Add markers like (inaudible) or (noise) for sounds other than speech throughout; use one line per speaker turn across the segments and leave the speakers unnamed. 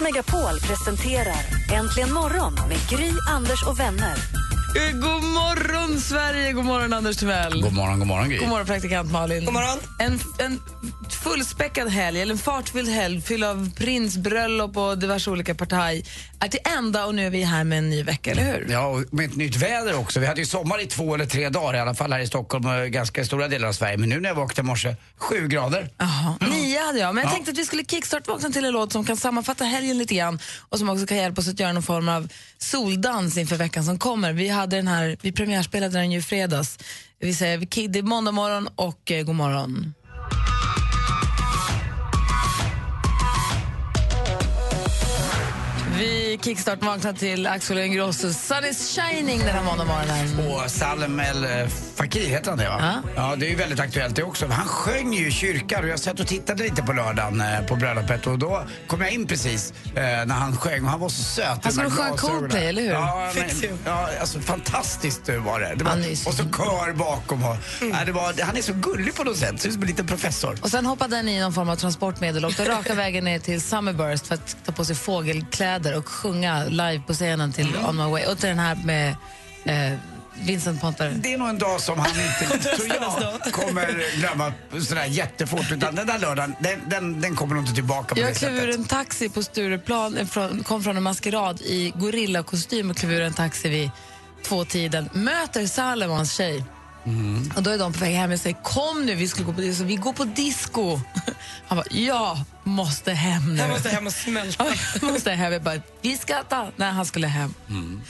Megapol presenterar Äntligen morgon med Gry, Anders och vänner.
Eh, God morgon, Sverige! God morgon, Anders Timell.
God morgon, god morgon Gry.
God morgon, praktikant Malin. God morgon. En, en fullspäckad helg, eller en fartfylld helg fylld av prinsbröllop och diverse olika partaj är till ända och nu är vi här med en ny vecka, eller hur?
Ja, och med ett nytt väder också. Vi hade ju sommar i två eller tre dagar i alla fall här i Stockholm och ganska stora delar av Sverige. Men nu när jag vaknade i morse, sju grader.
Jaha, nio hade jag. Men jag tänkte att vi skulle kickstart-vakna till en låt som kan sammanfatta helgen lite grann och som också kan hjälpa oss att göra någon form av soldans inför veckan som kommer. Vi, hade den här, vi premiärspelade den ju i fredags. Vi säger vi kid, det är måndag morgon och eh, god morgon. Vi kickstart-vaknar till Axel Ingrossos Sun is shining den här måndag morgonen.
Och Salem El eh, Fakir heter han det va?
Ja.
Ja, det är ju väldigt aktuellt det också. Han sjöng ju i kyrkan och jag satt och tittade lite på lördagen eh, på bröllopet och då kom jag in precis eh, när han sjöng och han var så söt.
Han skulle
De här
sjunga
glasögonen.
Coldplay, eller hur?
Ja, men, ja alltså fantastiskt eh, var det. det var,
Han är ju så Mm.
och så kör bakom och, ja, det var, Han är så gullig på något sätt, ser ut som en liten professor.
Och sen hoppade den i någon form av transportmedel och åkte raka vägen ner till Summerburst för att ta på sig fågelkläder och sjunga live på scenen till On My Way. Och till den här med eh, Vincent Pontare.
Det är nog en dag som han inte, tror jag, kommer glömma sådär jättefort. Utan den där lördagen, den, den, den kommer nog inte tillbaka på det
Jag klev ur
sättet.
en taxi på Stureplan, eh, från- kom från en maskerad i gorillakostym och klev ur en taxi vid tvåtiden. Möter Salem och hans tjej.
Mm.
Och då är de på väg hem och säger kom nu, vi, skulle gå på, disco. vi går på disco. (laughs) Han bara, jag måste hem nu.
Jag måste hem och
(laughs)
smälta.
Ja, jag måste hem. Jag bara, vi ska äta. Nej, han skulle hem.
Mm.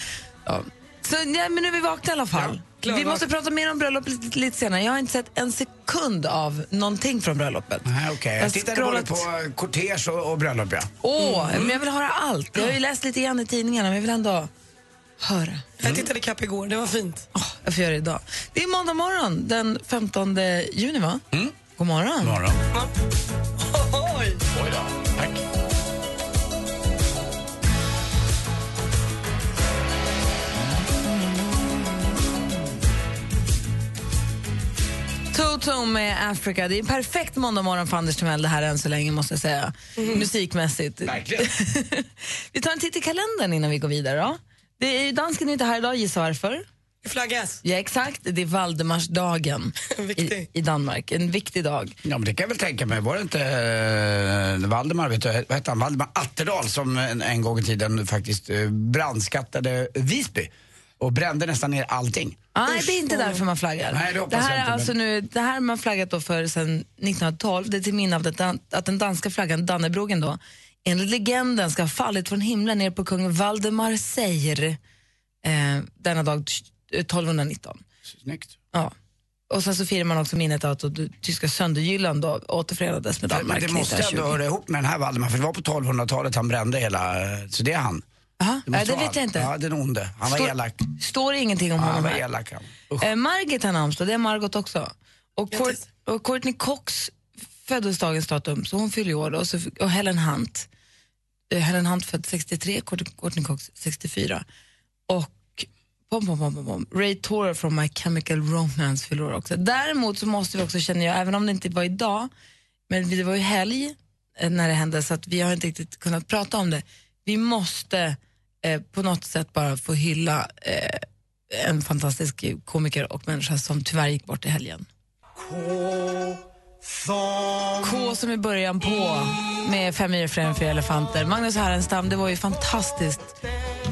Ja. Så, nej, men nu är vi vakna i alla fall. vi
klarvakt.
måste prata mer om bröllopet lite, lite senare. Jag har inte sett en sekund av någonting från bröllopet.
Nej, okej.
Jag
Jag tittade både
scrollat-
på kortege och, och bröllop, ja.
Åh, men jag vill höra allt. Jag har ju läst lite grann i tidningarna, men jag vill ändå höra.
Jag
Mm.
tittade kapp igår, det var fint.
Åh, jag får göra det idag. Det är måndag morgon den 15 juni, va? Mm. God morgon.
Morgon.
Oj.
Oj då. Tack.
Toto med Africa. Det är en perfekt måndag morgon för Anders Timell det här än så länge, måste jag säga. Musikmässigt.
Verkligen.
(laughs) vi tar en titt i kalendern innan vi går vidare. Då. Det är ju dansken är inte här idag, gissa varför?
Flaggas.
Ja, exakt. Det är Valdemarsdagen i,
Viktig.
i Danmark. En viktig dag.
Ja, men det kan jag väl tänka mig. Var det inte eh, Valdemar, vet du, vad hette han? Valdemar Atterdal som en, en gång i tiden faktiskt eh, brandskattade Visby och brände nästan ner allting.
Nej, det är inte därför man flaggar.
Nej, det hoppas
här
jag
är
inte,
alltså nu, det här har man flaggat då för sedan 1912. Det är till minne av att den, att den danska flaggan, Dannebrogen då, enligt legenden ska ha fallit från himlen ner på kung Valdemar Seyr eh, denna dag t- 1219.
Snyggt.
Ja. Och sen så firar man också minnet av att då tyska Sönderjylland då återförenades med
Men
Danmark
det måste ändå
1920.
höra ihop med den här Valdemar, för det var på 1200-talet han brände hela, eh, så det är han.
Jaha,
måste
ja, det
vara
vet
han.
jag inte.
Ja, den onde. Han var
Står-
elak.
Står det ingenting om
Ja, han
honom
var
här?
elak han. Usch.
Eh, Margit har namnsdag, det är Margot också. Och, Court,
Grattis.
och Courtney Cox föddes dagens datum, så hon fyller ju år. då. Och, så, och Helen Hunt. Eh, Helen Hunt född 63, Courtney, Courtney Cox 64. Och pom, pom, pom, pom, pom. Ray Torre från My Chemical Romance fyller år också. Däremot så måste vi också, känna jag, även om det inte var idag, men det var ju helg eh, när det hände så att vi har inte riktigt kunnat prata om det. Vi måste eh, på något sätt bara få hylla eh, en fantastisk komiker och människa som tyvärr gick bort i helgen. K som i början på med Fem myror för en fyra elefanter. Magnus Härenstam, det var ju fantastiskt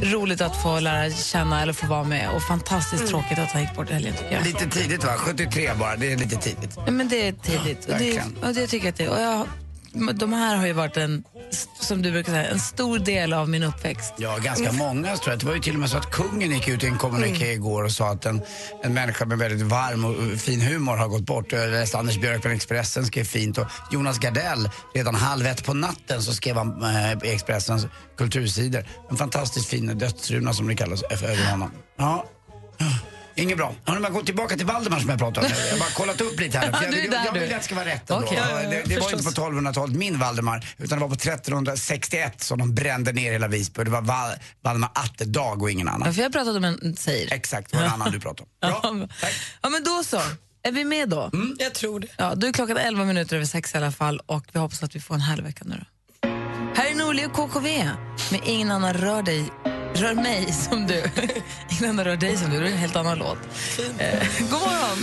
roligt att få lära känna eller få vara med och fantastiskt tråkigt att han gick bort i helgen tycker jag.
Mm. Lite tidigt va? 73 bara, det är lite tidigt.
Nej, men det är tidigt och det,
Verkligen.
och det tycker jag att det är. Och jag, de här har ju varit en st- som du brukar säga, en stor del av min uppväxt.
Ja, ganska många tror jag. Det var ju till och med så att kungen gick ut i en kommuniké
Mm.
igår och sa att en, en människa med väldigt varm och eh, fin humor har gått bort. Jag läste Anders Björk från Expressen skrev fint och Jonas Gardell, redan halv ett på natten så skrev han eh, på Expressens kultursidor. En fantastiskt fin dödsruna som det kallas eh, över honom. Ja. Inget bra. Hörrni, man går tillbaka till Valdemar som jag pratade om. Jag har bara kollat upp lite här.
(laughs) Ja,
För jag,
du är
vill-
där
jag
du.
vill att det ska vara rätt ändå.
Okej.
Ja,
Ja, ja,
det, det var inte på 1200-talet, min Valdemar, utan det var på 1361 som de brände ner hela Visby. Det var Val- Valdemar Atterdag och ingen
Ja,
annan.
för jag har pratat om en säger.
Exakt, det var en annan du pratade om. Bra, tack.
Ja, men då så. Är vi med då?
Mm.
Jag tror det.
Ja, då är klockan 11 minuter över sex i alla fall och vi hoppas att vi får en härlig vecka nu då. Här är Norli och KKV med Ingen annan rör dig, rör mig som du. (laughs) Ingen annan rör dig som du, det är en helt annan låt. Eh, (laughs) god morgon!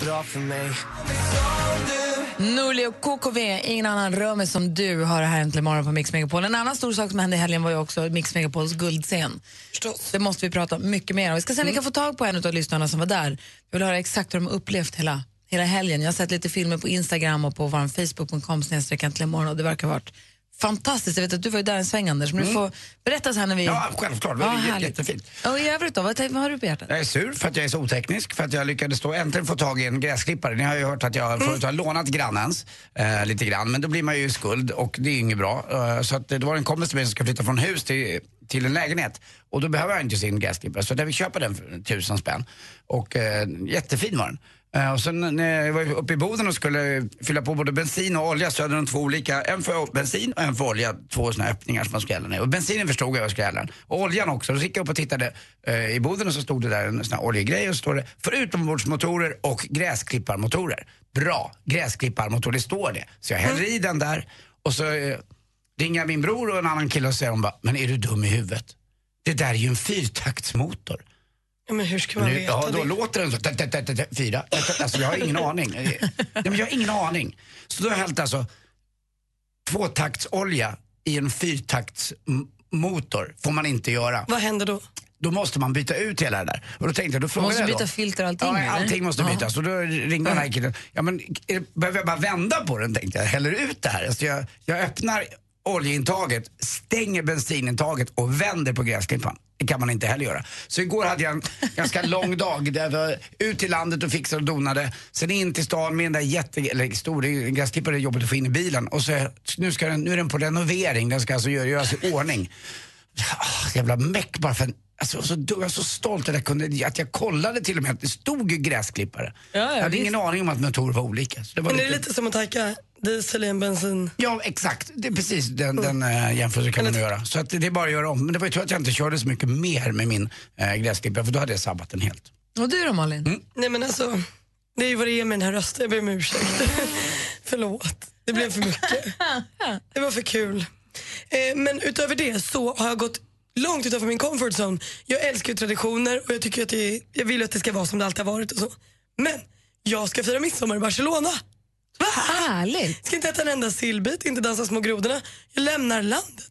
Bra.
Norli och KKV, Ingen annan rör mig som du, har det här äntligen morgon på Mix Megapol. En annan stor sak som hände i helgen var ju också Mix Megapols guldscen.
Förstås.
Det måste vi prata mycket mer om. Vi ska se
Mm.
om vi kan få tag på en av lyssnarna som var där. Jag vill höra exakt hur de har upplevt hela, hela helgen. Jag har sett lite filmer på Instagram och på vår Facebook.com snedstreck äntligen imorgon och det verkar ha varit fantastiskt. Jag vet att du var ju där en sväng Anders, men du får berätta så här när vi...
Mm. Ja, självklart. Det var jä- jättefint.
Och i övrigt då, vad, tänk- vad har du på hjärtat?
Jag är sur för att jag är så oteknisk, för att jag lyckades då äntligen få tag i en gräsklippare. Ni har ju hört att jag förut har lånat grannens eh, lite grann, men då blir man ju i skuld och det är ju inget bra. Eh, så att, eh, det var en kompis till mig som ska flytta från hus till, till en lägenhet och då behöver jag inte sin gräsklippare. Så jag fick köpa den för tusen spänn och eh, jättefin var den. Eh, Och sen när jag var uppe i Boden och skulle fylla på både bensin och olja så hade de två olika, en för bensin och en för olja, två såna öppningar som man skulle hälla ner. Och bensinen förstod jag vad jag skulle hälla den. Och oljan också. Så gick jag upp och tittade eh, i Boden och så stod det där en sån här oljegrej och så står det för utombordsmotorer och gräsklipparmotorer. Bra, gräsklipparmotor, det står det. Så jag häller i den där och så eh, ringer jag min bror och en annan kille och säger hon bara, men är du dum i huvudet? Det där är ju en fyrtaktsmotor.
Ja, men hur ska man
Nu,
veta
ja, då
det?
låter den så. Tä, tä, tä, tä, tä, Fyra. Tä, tä, Alltså, jag har ingen aning. Nej, men jag har ingen aning. Så då har jag hällt alltså tvåtaktsolja i en fyrtaktsmotor. Får man inte göra.
Vad händer då?
Då måste man byta ut hela det där. Och då tänkte jag, då frågade
Måste
jag
byta
då.
filter och allting,
Ja,
eller?
allting måste
Ja.
bytas. Och då ringde den här killen. Ja, men, är det- behöver jag bara vända på den tänkte jag. Häller ut det här. Alltså, jag, jag öppnar oljeintaget, stänger bensinintaget och vänder på gräsklippan. Det kan man inte heller göra. Så igår hade jag en
(laughs)
ganska lång dag. Där jag var ut till landet och fixade och donade. Sen in till stan med den där jätte... Eller stor, det är ju- en gräsklippare är jobbigt att få in i bilen. Och så, nu, ska den, nu är den på renovering. Den ska alltså gö- göras i ordning. Ah, jävla meck bara för en, alltså, jag var så, dum, jag var så stolt att jag, kunde, att jag kollade till och med att det stod ju gräsklippare.
Ja, ja,
jag hade
visst.
ingen aning om att motorer var olika. Så det var
Men det
lite,
är lite som att tanka diesel i en bensin.
Ja, exakt. Det är precis den, den
Mm.
äh, jämförelsen kan man nog göra. Så att, det är bara att göra om. Men det var ju tur att jag inte körde så mycket mer med min äh, gräsklippare för då hade jag sabbat den helt.
Och du då Malin?
Mm.
Nej men alltså, det är ju vad det är med den här rösten. Jag ber om ursäkt. (laughs) Förlåt, det blev
(laughs)
för mycket. Det var för kul. Eh, men utöver det så har jag gått långt utanför min comfort zone. Jag älskar ju traditioner och jag, tycker att det, jag vill ju att det ska vara som det alltid har varit och så. Men jag ska fira midsommar i Barcelona.
Härligt!
Ska inte äta en enda sillbit, inte dansa små grodorna. Jag lämnar landet.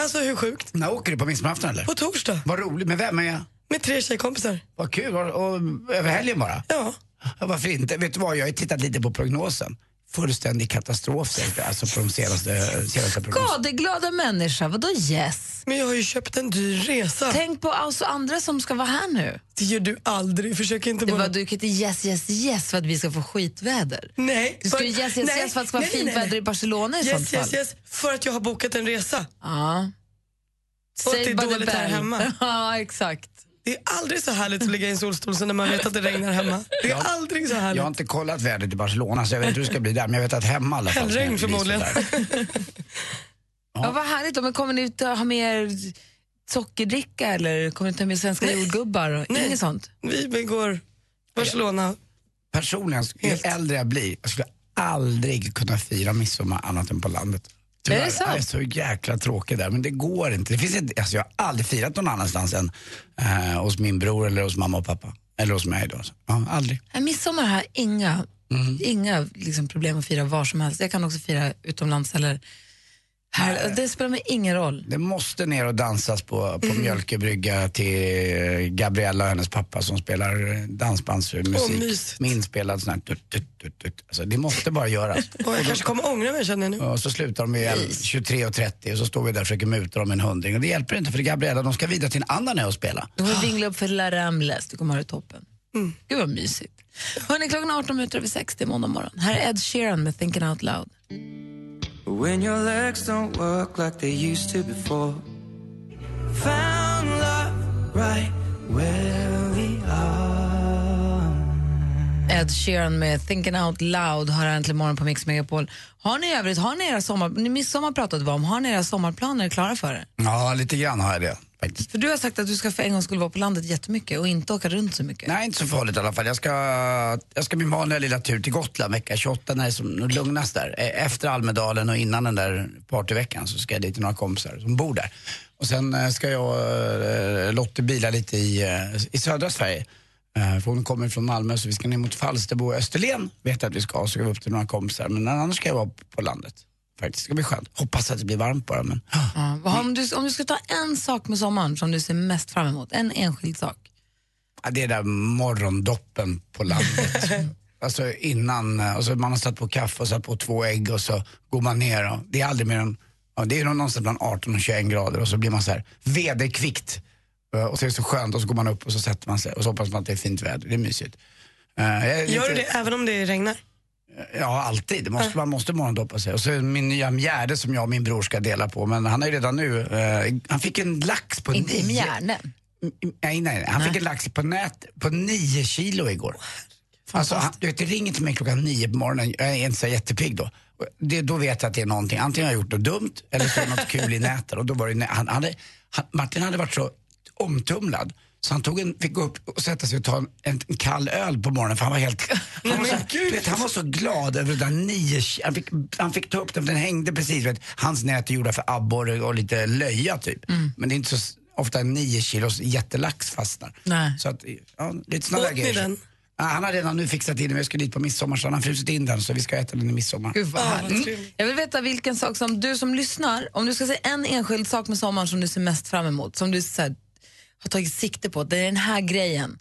Alltså hur sjukt?
När åker du på midsommarafton eller?
På torsdag
Vad roligt. Med vem är jag?
med tre tjejkompisar.
Vad kul. Och, och, över helgen bara?
Ja.
Ja, varför inte? Vet du vad, jag har ju tittat lite på prognosen. Fullständig katastrof säkert, alltså på de senaste, senaste prognoserna.
Skadeglada människa, vadå yes?
Men jag har ju köpt en dyr resa.
Tänk på oss och andra som ska vara här nu.
Det gör du aldrig. Försök inte
Det
bara...
var, du kan inte yes, yes, yes för att vi ska få skitväder.
Nej.
Du
för-
ska ju yes, yes,
nej,
yes för att det ska vara
nej, nej,
fint
nej.
väder i Barcelona i sånt
Yes,
fall.
yes, yes. För att jag har bokat en resa.
Ja.
Och att det
Saved
är
by the
dåligt här
bell.
hemma.
(laughs) Ja, exakt.
Det är aldrig så härligt att ligga i en solstol som när man vet att det regnar hemma. Det är aldrig så
Jag har
härligt.
inte kollat vädret i Barcelona så jag vet inte hur det ska bli där, men jag vet att hemma i alla fall.
Hellregn
ska det bli
förmodligen.
sådär.
Ja. vad härligt. då. Men kommer ni ut och ha med er sockerdricka eller kommer ni ta med svenska jordgubbar? Och, inget sånt?
Vi begår Barcelona.
Personligen, ju
Helt.
äldre jag blir, jag skulle aldrig kunna fira midsommar annat än på landet. Tyvärr.
Är det sant?
Jag är så jäkla tråkig där, men det går inte. Det finns inte alltså jag har aldrig firat någon annanstans än eh, hos min bror eller hos mamma och pappa. Eller hos mig då. Så, Ja, aldrig.
Nej, midsommar har jag inga, inga liksom, problem att fira var som helst. Jag kan också fira utomlands eller Här, det spelar mig ingen roll.
Det måste ner och dansas på,
Mm.
på mjölkebrygga till Gabriella och hennes pappa som spelar eh,
Åh,
dansbandsmusik
mysigt.
med inspelad sån här tut, tut, tut, tut. Alltså, det måste bara göras.
Och jag kanske kommer ångra mig känner jag nu.
Och så slutar de ju 23.30 och så står vi där och försöker muta dem en hundring. Och det hjälper inte för Gabriella, de ska vidare till en annan ö och spela.
Du kommer vingla upp för La Ramles, du kommer ha det toppen. Gud vad mysigt. Hörrni, klockan är 18 minuter över 6, det är måndag morgon. Här är Ed Sheeran med Thinking Out Loud.
When your legs don't work like they used to before. Found love right where we are.
Ed Sheeran med Thinking Out Loud har här äntligen morgon på Mix Megapol. Har ni i övrigt, har ni era sommar, ni midsommar pratade vi om, har ni era sommarplaner klara för er?
Ja, lite grann har jag det faktiskt.
För du har sagt att du ska för en gång skulle vara på landet jättemycket och inte åka runt så mycket.
Nej, inte så farligt i alla fall. Jag ska, jag ska min vanliga lilla tur till Gotland vecka 28 när det är som lugnast där. Eh, Efter Almedalen och innan den där partyveckan så ska jag dit till några kompisar som bor där. Och sen eh, ska jag, eh, Lottie bila lite i, eh, i södra Sverige. Eh, För hon kommer från Malmö så vi ska ner mot Falsterbo och Österlen. Vet jag att vi ska, så ska vi upp till några kompisar. Men annars ska jag vara på landet. Faktiskt, det ska bli skönt. Hoppas att det blir varmt bara men...
Ja, vad har- om, du, om du ska ta en sak med sommaren som du ser mest fram emot, en enskild sak.
Ja, det är där morgondoppen på
(laughs)
landet. alltså innan, eh, alltså man har satt på kaffe och satt på två ägg och så går man ner och det är aldrig mer än, ja, det är nog någonstans bland 18 och 21 grader och så blir man så här vederkvickt. Eh, Och så är det så skönt och så går man upp och så sätter man sig och så hoppas man att det är fint väder. Det är mysigt. Eh, jag är
Gör du
lite-
det även om det regnar?
Ja, alltid. Det Måste, man måste morgondoppa sig. Och så är det min nya mjärde som jag och min bror ska dela på. Men han är ju redan nu, eh, han fick en lax på
Inte i
nio-
mjärnen.
Mm, Nej, nej, nej. Han fick en lax på nät på 9 kilo igår. Alltså, han, du vet, det ringer till mig klockan 9 på morgonen. Jag är inte så jättepigg då. Och Det, då vet jag att det är någonting. Antingen har jag gjort något dumt eller så är det något kul i nätet. Och då var det, nä- han, han, hade- han, Martin hade varit så omtumlad så han tog en, fick gå upp och sätta sig och ta en, en, kall öl på morgonen för han var helt... Han var, så, du vet, han var så glad över det där nio... ki- Han fick, han fick ta upp den för den hängde precis. Vet, hans nät är gjorda för abborre och lite löja typ. Men det är inte så s- ofta en nio kilos jättelax fastnar.
Nej.
Så att, ja, lite såna
Åt
där
ni
grejer.
den?
Ja, han har redan nu fixat in den, men jag ska dit på midsommar så han har frusit in den så vi ska äta den i midsommar.
Gud vad
Ja, vad
härligt.
trevligt.
Jag vill veta vilken sak som du som lyssnar, om du ska säga en enskild sak med sommaren som du ser mest fram emot, som du så här, har tagit sikte på, det är den här grejen.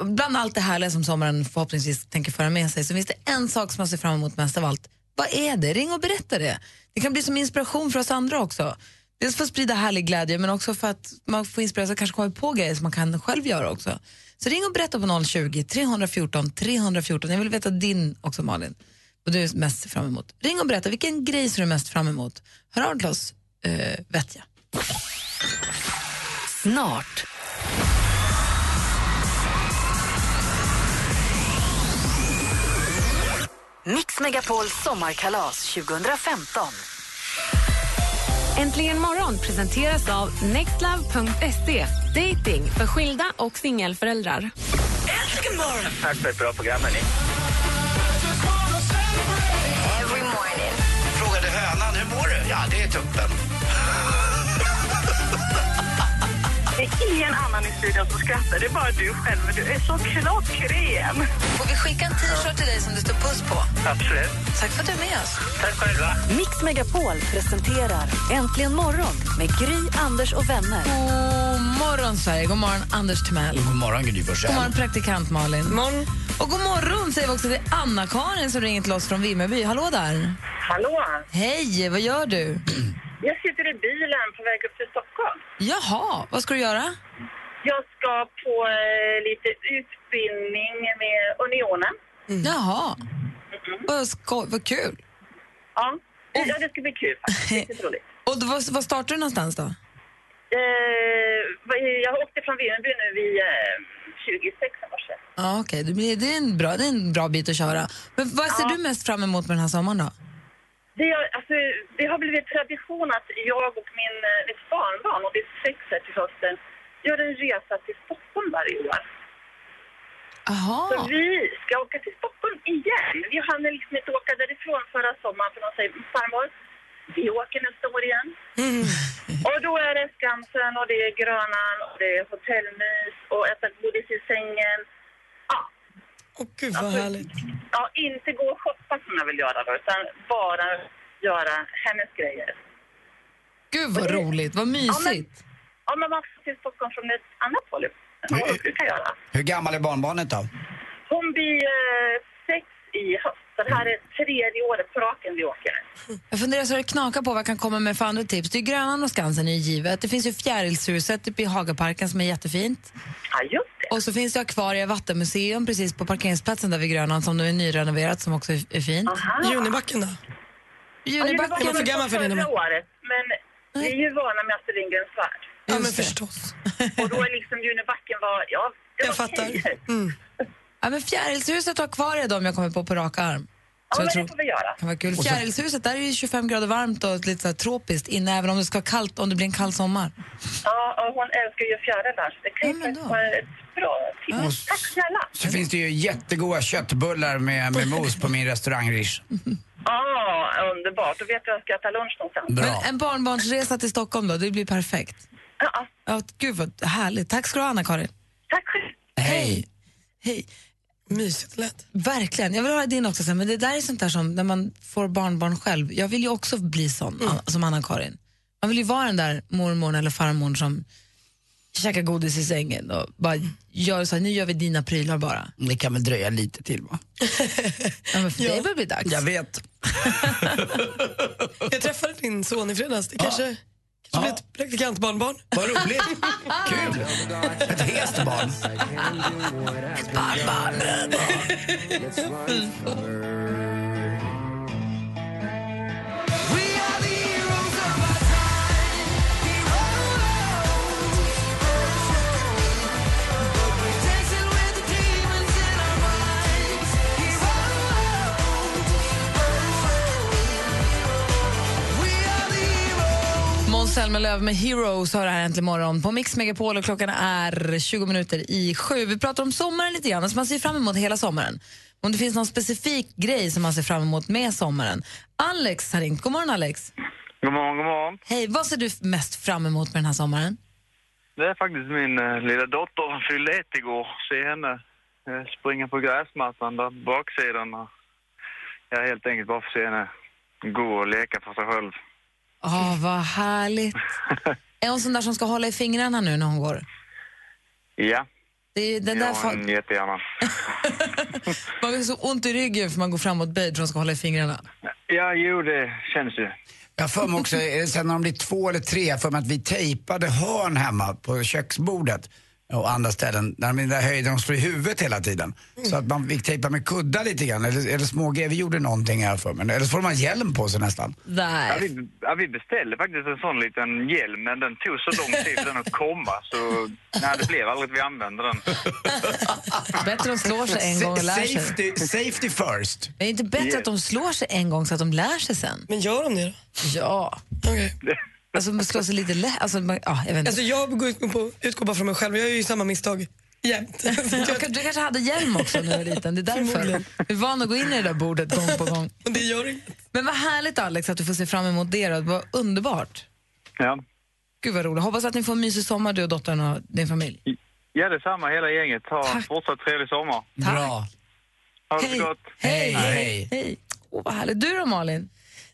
Bland allt det härliga som sommaren förhoppningsvis tänker föra med sig så finns det en sak som man ser fram emot mest av allt. Vad är det? Ring och berätta det. Det kan bli som inspiration för oss andra också. Dels för att sprida härlig glädje men också för att man får inspireras och kanske komma på grejer som man kan själv göra också. Så ring och berätta på 020-314 314. Jag vill veta din också Malin och du är mest fram emot. Ring och berätta vilken grej som du är mest fram emot. Hör av dig till oss, eh, vet jag.
Snart. Mix Megapols sommarkalas 2015.
Äntligen morgon presenteras av nextlove.se. Dating för skilda och singelföräldrar.
Frågade hönan, hur mår du? Ja, det är tuppen.
Det är ingen annan i studion som skrattar, det är bara du själv. Men du är så klockren.
Får vi skicka en t-shirt till dig som det står puss på?
Absolut.
Tack för att du är med oss.
Tack själva.
Mix Megapol presenterar Äntligen morgon med Gry, Anders och vänner.
God morgon Sverige, god morgon Anders Timell.
God morgon, Gry
God
Forssell.
morgon praktikant Malin.
Imorgon.
Och god morgon säger vi också till Anna-Karin som ringer till oss från Vimmerby. Hallå där!
Hallå!
Hej, vad gör du?
Jag sitter i bilen på väg upp till Stockholm.
Jaha, vad ska du göra?
Jag ska på eh, lite utbildning med Unionen.
Mm. Jaha, vad, sko- vad kul.
Ja. ja, det ska bli kul
(laughs)
faktiskt. Riktigt roligt.
Och då, vad, vad startar du någonstans då?
Eh, vad- jag åkte från Vimmerby nu vid eh, 26 år sedan.
Ja, okej. Det, blir, det, är en bra, det är en bra bit att köra. Men vad ser du mest fram emot med den här sommaren då?
Det, är- alltså, det har blivit tradition att jag och min, eh, mitt barnbarn, och det är sex här till hösten, gör en resa till Stockholm varje år. Så
Aha.
vi ska åka till Stockholm igen. Vi hann liksom inte åka därifrån förra sommaren för de säger farmor, vi åker nästa år igen.
Mm.
Och då är det Skansen och det är Grönan och det är hotellmys och äta godis i sängen. Ja, Alltså,
Åh gud vad härligt.
ja, inte gå och shoppa som jag vill göra då utan bara göra hennes grejer.
Gud vad roligt, vad mysigt.
Ja, men man får till Stockholm från ett annat håll. Ja, det kan jag göra.
Hur gammal är barnbarnet då?
Hon blir eh, sex i höst. Det här är tredje året på raken vi åker.
Jag funderar så det knakar på vad jag kan komma med för andra tips. Det är ju Grönan och Skansen är ju givet. Det finns ju Fjärilshuset uppe i Hagaparken som är jättefint.
Ja, just det.
Och så finns det Akvaria vattenmuseum precis på parkeringsplatsen där vid Grönan som nu är nyrenoverat som också är är fint.
Junibacken då?
Ja,
Junibacken
det
var för gammal för det nu.
förra året, men vi är ju vana med Astrid Lindgrens Värld.
Ja, men
Just det.
förstås.
Och då är liksom Junibacken var, ja, det var
Jag fattar.
okej.
Mm.
Ja, men Fjärilshuset och Akvaria är de jag kommer på på rak arm.
Ja,
Så jag
men
tror
det får vi göra.
kan vara kul. Fjärilshuset, där är det ju 25 grader varmt och lite så här tropiskt inne även om det ska vara kallt, om det blir en kall sommar.
Ja, och hon älskar ju fjärilar, så det kan ju
Ja, men
faktiskt
då.
vara ett bra tips. Tack snälla.
Så finns det ju jättegoda köttbullar med, med mos på min restaurang Rish.
Ja, underbart. Då vet jag att jag ska äta lunch någonstans.
Bra.
Men en barnbarnsresa till Stockholm då, det blir perfekt.
Ja,
Ja, gud vad härligt. Tack ska du ha Anna-Karin.
tack själv.
Hej!
Hej.
Mysigt lätt.
Verkligen. Jag vill höra din också sen, men det där är sånt där som när man får barnbarn själv. Jag vill ju också bli sån
Mm.
an- som Anna-Karin. Man vill ju vara den där mormor eller farmor som käkar godis i sängen och bara gör så här, nu gör vi dina prylar bara.
Det kan väl dröja lite till va?
(laughs) Ja, men för dig börjar bli dags.
Jag vet.
Jag träffade din son i fredags. Det kanske, kanske blir ett praktikantbarnbarn.
Vad roligt! Kul! Ett hest barn.
Måns Zelmerlöw med Heroes har det här äntligen morgon på Mix Megapol och klockan är 20 minuter i sju. Vi pratar om sommaren lite grann, alltså man ser fram emot hela sommaren. Om det finns någon specifik grej som man ser fram emot med sommaren. Alex har ringt. God morgon Alex.
God morgon, god morgon.
Hej, vad ser du f- mest fram emot med den här sommaren?
Det är faktiskt min eh, lilla dotter som fyllde ett igår. Se henne eh, springa på gräsmattan där på baksidan. och Jag är helt enkelt bara för att se henne gå och leka för sig själv.
Åh, vad härligt. (laughs) Är hon sån där som ska hålla i fingrarna nu när hon går?
Ja,
Det är ju den där
ja
fa-
jättegärna.
(laughs) man har så ont i ryggen för man går framåt böjd för hon ska hålla i fingrarna.
(laughs) Ja, jo, det känns ju.
Jag har för mig också, är det sen när de blir två eller tre, jag har för mig att vi tejpade hörn hemma på köksbordet och andra ställen, när de är i den där höjden, de slår i huvudet hela tiden. Så att man fick tejpa med kuddar lite grann, eller, eller små grejer. Vi gjorde någonting här för mig. Eller så får man hjälm på sig nästan.
Ja,
Nej.
vi, ja, vi beställde faktiskt en sån liten hjälm, men den tog så lång tid för den att komma så nej, det blev aldrig att vi använde (laughs) den.
(laughs) Bättre att de slår sig en gång och lär sig.
safety, safety first.
Men är det inte bättre
Yes.
att de slår sig en gång så att de lär sig sen?
Men gör de det då?
Ja.
Okej.
Alltså man slår sig lite lätt. Alltså, man- ja, jag vet
Alltså
inte.
jag går ut på, utgår bara från mig själv. Jag gör ju samma misstag
(laughs)
jämt. Så
Du
jag-
kan- du kanske hade hjälm också när du var liten. Det är därför.
Förmodligen.
Du är van att gå in i det där bordet gång på gång.
Och det gör inget.
Men vad härligt Alex att du får se fram emot det. då. Vad underbart.
Ja,
Gud vad roligt. Hoppas att ni får en mysig sommar du och dottern och din familj.
ja detsamma hela gänget. Ha en
Tack.
fortsatt trevlig sommar.
Tack.
Bra.
Ha det
Hej.
så gott.
Hej.
Hej.
Hej. Åh, vad härligt. Du då Malin?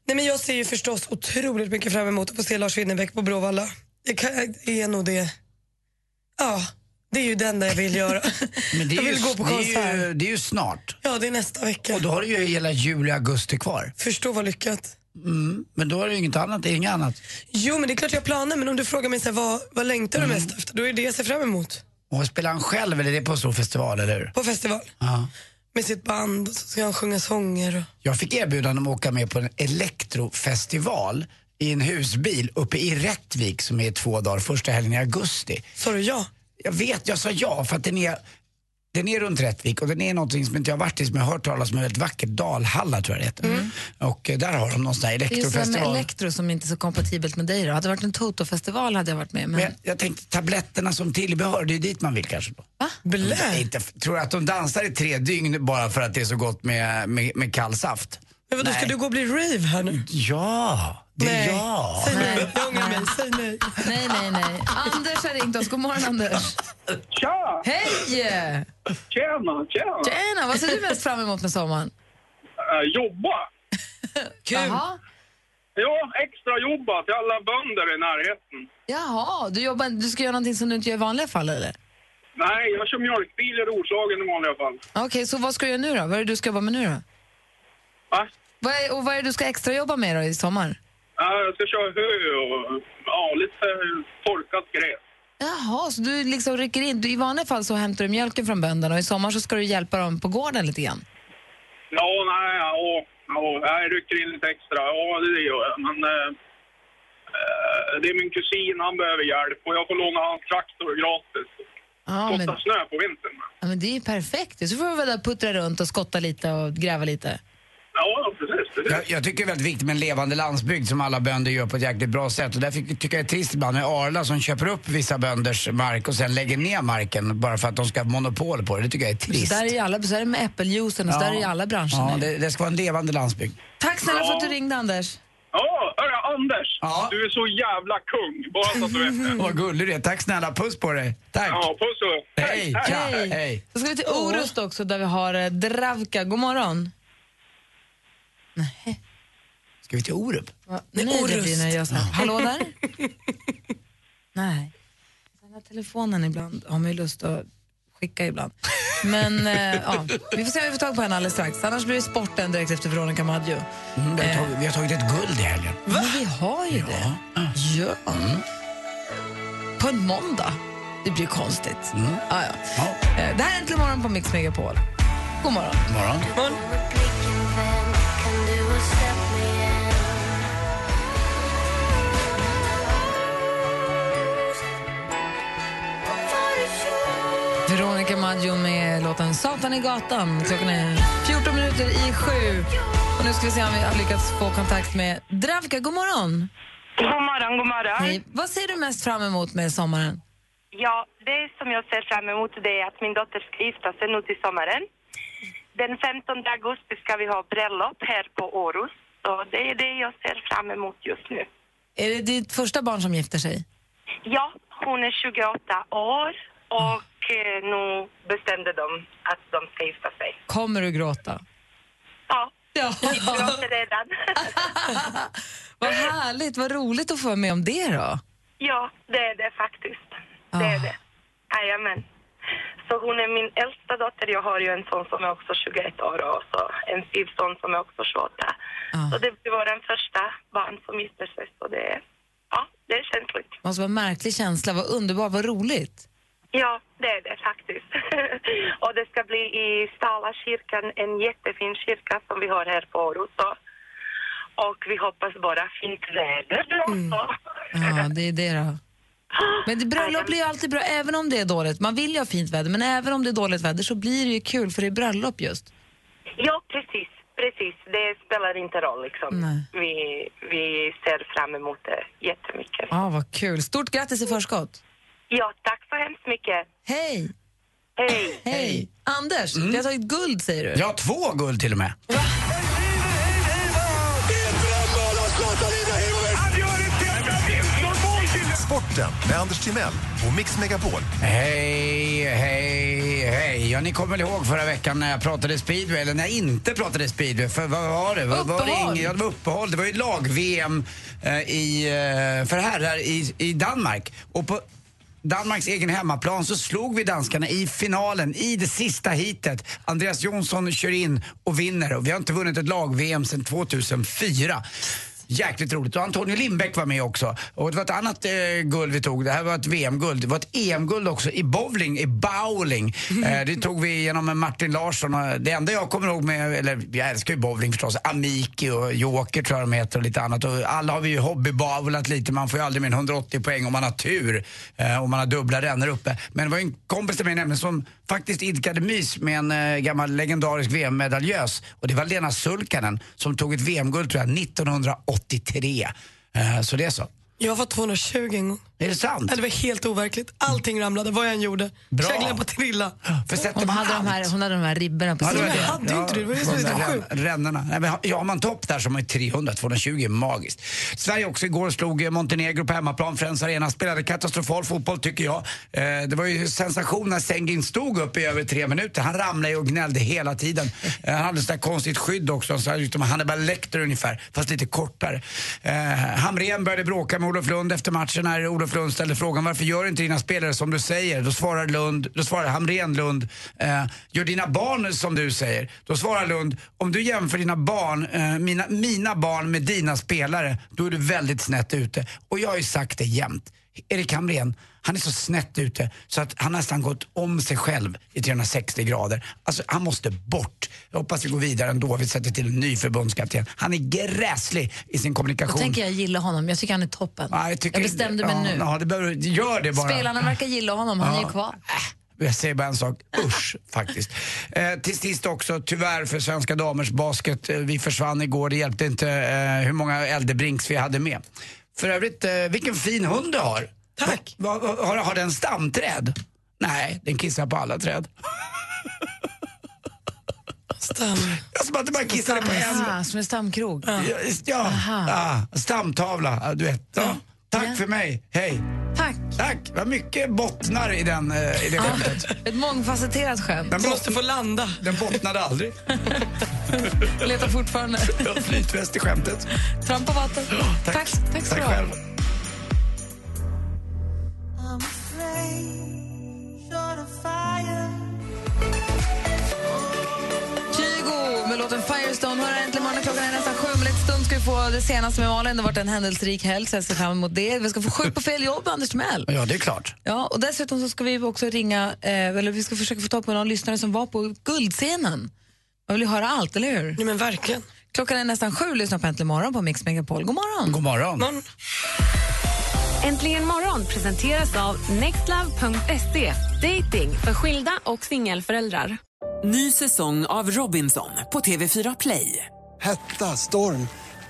Nej, men jag ser ju förstås otroligt mycket fram emot att få se Lars Winnerbäck på Bråvalla. Det, kan, det är nog det. Ja, det är ju den där jag vill göra.
Men det är,
jag
ju,
vill gå på
det,
konsert.
är ju, det är ju snart.
Ja, det är nästa vecka.
Och då har du ju hela juli, augusti kvar.
Förstå vad lyckat.
Mm. Men då har du ju inget annat, det är inget annat.
Jo, men det är klart jag har planer, men om du frågar mig så här, vad, vad längtar
Mm.
du mest efter? Då är det det jag ser fram emot.
Och spelar han själv eller är det på en stor festival, eller hur?
På festival.
Ja.
Med sitt band och så ska han sjunga sånger. Och...
Jag fick erbjudande om att åka med på en elektrofestival i en husbil uppe i Rättvik som är två dagar, första helgen i augusti.
Sa du ja?
Jag vet, jag sa ja för att den är, den är runt Rättvik och den är någonting som inte jag har varit i som jag har hört talas om, en väldigt vacker Dalhalla tror jag det heter. Och eh, där har de någon sån här
Mm. Det är ju sådär med
elektrofestival.
elektro som inte är så kompatibelt med dig. Då. Hade det varit en Toto-festival hade jag varit med. Men...
Men jag, jag tänkte tabletterna som tillbehör, det är dit man vill kanske då. Nej,
Blä.
Inte, f- tror du att de dansar i tre dygn bara för att det är så gott med, med, med kall saft?
Men vadå, ska
Nej.
du gå och bli rave här nu?
Ja, det är
Nej.
jag.
Säg nej.
Nej.
Jag ångrar mig. Säg nej.
Nej, nej, nej. Anders har ringt oss. God morgon Anders.
Tja!
Hej!
Tjena, tjena!
Tjena,
Äh,
vad ser du mest fram emot med sommaren?
Jobba!
Jaha.
Jo, extra jobbat till alla bönder i närheten.
Jaha, du, jobbar, du ska göra någonting som du inte gör i vanliga fall eller?
Nej, jag kör mjölkbil i Roslagen i vanliga fall.
Okej, så vad ska du göra nu då? Vad är det du ska jobba med nu då?
Va?
Vad är, och vad är det du ska extra jobba med då i sommar?
Ja, Äh, Jag ska köra hö och ja, lite torkat gräs.
Jaha, så du liksom rycker in. Du, I vanliga fall så hämtar du mjölken från bönderna och i sommar så ska du hjälpa dem på gården lite grann.
Ja, nej, ja, ja, jag rycker in lite extra. Ja, det gör jag. Men eh, eh, det är min kusin, han behöver hjälp och jag får låna hans traktor gratis.
Ja, men,
Kostar snö på vintern.
ja, men det är ju perfekt. Så får du vara där och puttra runt och skotta lite och gräva lite.
Ja, precis. precis.
Jag, jag tycker det är väldigt viktigt med en levande landsbygd som alla bönder gör på ett jäkligt bra sätt. Och därför tycker jag det är trist ibland med Arla som köper upp vissa bönders mark och sen lägger ner marken bara för att de ska ha monopol på det. Det tycker jag är
Så
trist.
där är ju alla, så där är det med äppeljuicen och så
Ja.
där är det i alla branscher
Ja,
nu.
det, det ska vara en levande landsbygd.
Tack snälla för att du ringde Anders.
Ja, hörru Anders! Du är så jävla kung, bara så att du
(laughs)
vet
Mm.
det.
Vad gullig du är. Tack snälla. Puss på dig. Tack.
Ja, puss och
Hej. Hej. Hej.
Så ska vi till Orust också där vi har eh, Dravka. God morgon.
Ska vi till Orup?
Va? Nej, det blir när jag sa. Hallå (laughs) där? Nej. Den här telefonen ibland har man ju lust att skicka ibland. Men eh, ja, vi får se om vi får tag på henne alldeles strax. Annars blir det sporten direkt efter Veronica Maggio.
Mm, vi, har tagit, vi har tagit ett guld i helgen.
Men vi har ju det. Ja. Mm. På en måndag. Det blir konstigt. Ah, ja. Eh, Det här är Äntligen morgon på Mix Megapol. God morgon.
morgon.
Veronica Maggio med låten Satan i gatan. Klockan är 14 minuter i sju. Och nu ska vi se om vi har lyckats få kontakt med Dravka. God morgon!
God morgon, god morgon.
Hej. Vad ser du mest fram emot med sommaren?
Ja, det som jag ser fram emot det är att min dotter ska gifta sig nu till sommaren. Den 15 augusti ska vi ha bröllop här på Orust. Så det är det jag ser fram emot just nu.
Är det ditt första barn som gifter sig?
Ja, hon är 28 år och eh, nu bestämde de att de ska gifta sig.
Kommer du gråta?
Ja,
ja. (laughs)
jag gråter redan.
Vad härligt, vad roligt att få vara med om det då.
ja, det är det faktiskt.
Ah.
Det är det. Jajamän. Så hon är min äldsta dotter. Jag har ju en son som är också 21 år och så en styvson som är också 28.
Ah.
Så det blir vår första barn som gifter sig. Så det, är- ja, det är känsligt.
Måste vara en märklig känsla, vad underbart, vad roligt.
Ja, det är det faktiskt. (laughs) och det ska bli i Stala kyrkan, en jättefin kyrka som vi har här på Orust. Så- Och vi hoppas bara fint väder. Så-
Mm. Ja, det är det då. Men det bröllop blir ju alltid bra, även om det är dåligt. Man vill ju ha fint väder, men även om det är dåligt väder så blir det ju kul för det är bröllop just.
Ja, precis. Precis. Det spelar inte roll liksom. Vi, vi ser fram emot det jättemycket.
Ja, Ah, vad kul. Stort grattis i förskott.
Ja, tack så hemskt mycket.
Hej!
Hej!
Hej! Anders, vi har tagit guld säger du.
Mm. Ja, två guld till och med.
Sporten med Anders Timell och Mix Megapol.
Hej, hej, hej. Ja, ni kommer väl ihåg förra veckan när jag pratade speedway, eller när jag inte pratade speedway. För vad var det? Vad, Var det,
Uppehåll.
ingen- ja, det var uppehåll. Det var ju lag-VM eh, i, eh, för herrar i, i Danmark. Och på Danmarks egen hemmaplan så slog vi danskarna i finalen, i det sista heatet. Andreas Jonsson kör in och vinner. Och vi har inte vunnit ett lag-VM sedan 2004. Jäkligt roligt. Och Antonio Lindbäck var med också. Och det var ett annat eh, guld vi tog. Det här var ett VM-guld. Det var ett EM-guld också i bowling, i bowling. Eh, det tog vi genom Martin Larsson. Och Det enda jag kommer ihåg med, eller jag älskar ju bowling förstås, Amiki och Joker tror jag de heter och lite annat. Och alla har vi ju hobbybowlat lite. Man får ju aldrig mer än 180 poäng om man har tur eh, och man har dubbla rännor uppe. Men det var ju en kompis till mig nämligen som faktiskt idkade mys med en eh, gammal legendarisk VM-medaljös. Och det var Lena Sulkanen som tog ett VM-guld tror jag 1983. Eh, så det är så.
Jag var 220 en gång.
Är det sant?
Ja, det var helt overkligt. Allting ramlade, vad jag än gjorde.
Bra.
Käglan på trilla.
Hon hade, de här, hon hade de här ribborna på
Ja, det var
sidan.
det. Ja, de där
sjukt.
rän- Rännorna. Nej, men har- Ja, har man topp där som är 300, 220 är magiskt. Sverige också igår slog eh, Montenegro på hemmaplan. Friends Arena spelade katastrofal fotboll tycker jag. Eh, Det var ju sensation när Sengin stod upp i över tre minuter. Han ramlade ju och gnällde hela tiden. Eh, Han hade sådär konstigt skydd också, så här, liksom, utom Hannibal Lecter ungefär, fast lite kortare. Eh, Hamrén började bråka med Olof Lund efter matchen när Olof Lund ställde frågan varför gör inte dina spelare som du säger? Då svarar, Lund, då svarar Hamrén Lund, eh, gör dina barn som du säger? Då svarar Lund, om du jämför dina barn, eh, mina, mina barn med dina spelare, då är du väldigt snett ute. Och jag har ju sagt det jämt. Erik Hamrén, han är så snett ute så att han nästan gått om sig själv i 360 grader. Alltså han måste bort. Jag hoppas vi går vidare ändå, vi sätter till en ny förbundskapten. Han är gräslig i sin
Då
kommunikation.
tänker jag gilla honom. Jag tycker han är toppen.
Ja, jag, tycker-
bestämde mig
ja,
nu.
Ja, det behöver, du- gör det bara.
Spelarna verkar gilla honom, han
Ja. Äh,
är ju kvar.
Jag säger bara en sak,
(laughs)
usch faktiskt. Eh, till sist också, tyvärr för svenska damers basket, eh, vi försvann igår, det hjälpte inte eh, hur många äldrebrinks vi hade med. För övrigt, eh, vilken fin hund du har. Tack. Va, va, har, har den stamträd? Nej, den kissar på alla träd. (laughs)
Stam.
Jag som att det bara kissade på en.
Ah, som en stamkrog.
Ja, ja. Ah, stamtavla, ah, du vet. Ja. Tack för mig, hej.
Tack.
Tack, vad mycket bottnar i, den, eh, i
(laughs)
det skämtet.
Ett mångfacetterat skämt.
Den måste
få landa.
Den bottnade aldrig.
Letar fortfarande.
Flytväst i skämtet.
Tramp på vatten. Tack, tack, ska du ha. Kygo med låten Firestone. Hör äntligen morgonen. Klockan är nästan sju. Om en liten stund ska vi få det senaste med Malin. Det har varit en händelserik helg, så jag ser fram emot det. Vi ska få sjuk på fel jobb, Anders Timell.
Ja, det är klart.
Ja, och dessutom så ska vi också ringa, eh, eller vi ska försöka få tag på någon lyssnare som var på guldscenen. Man vill ju höra allt, eller hur?
Nej, men verkligen.
Klockan är nästan sju, lyssna på Äntligen morgon på Mix Megapol. God morgon!
God morgon!
Äntligen morgon presenteras av nextlove.se. Dating för skilda och singelföräldrar.
Ny säsong av Robinson på TV4 Play.
Hetta, storm,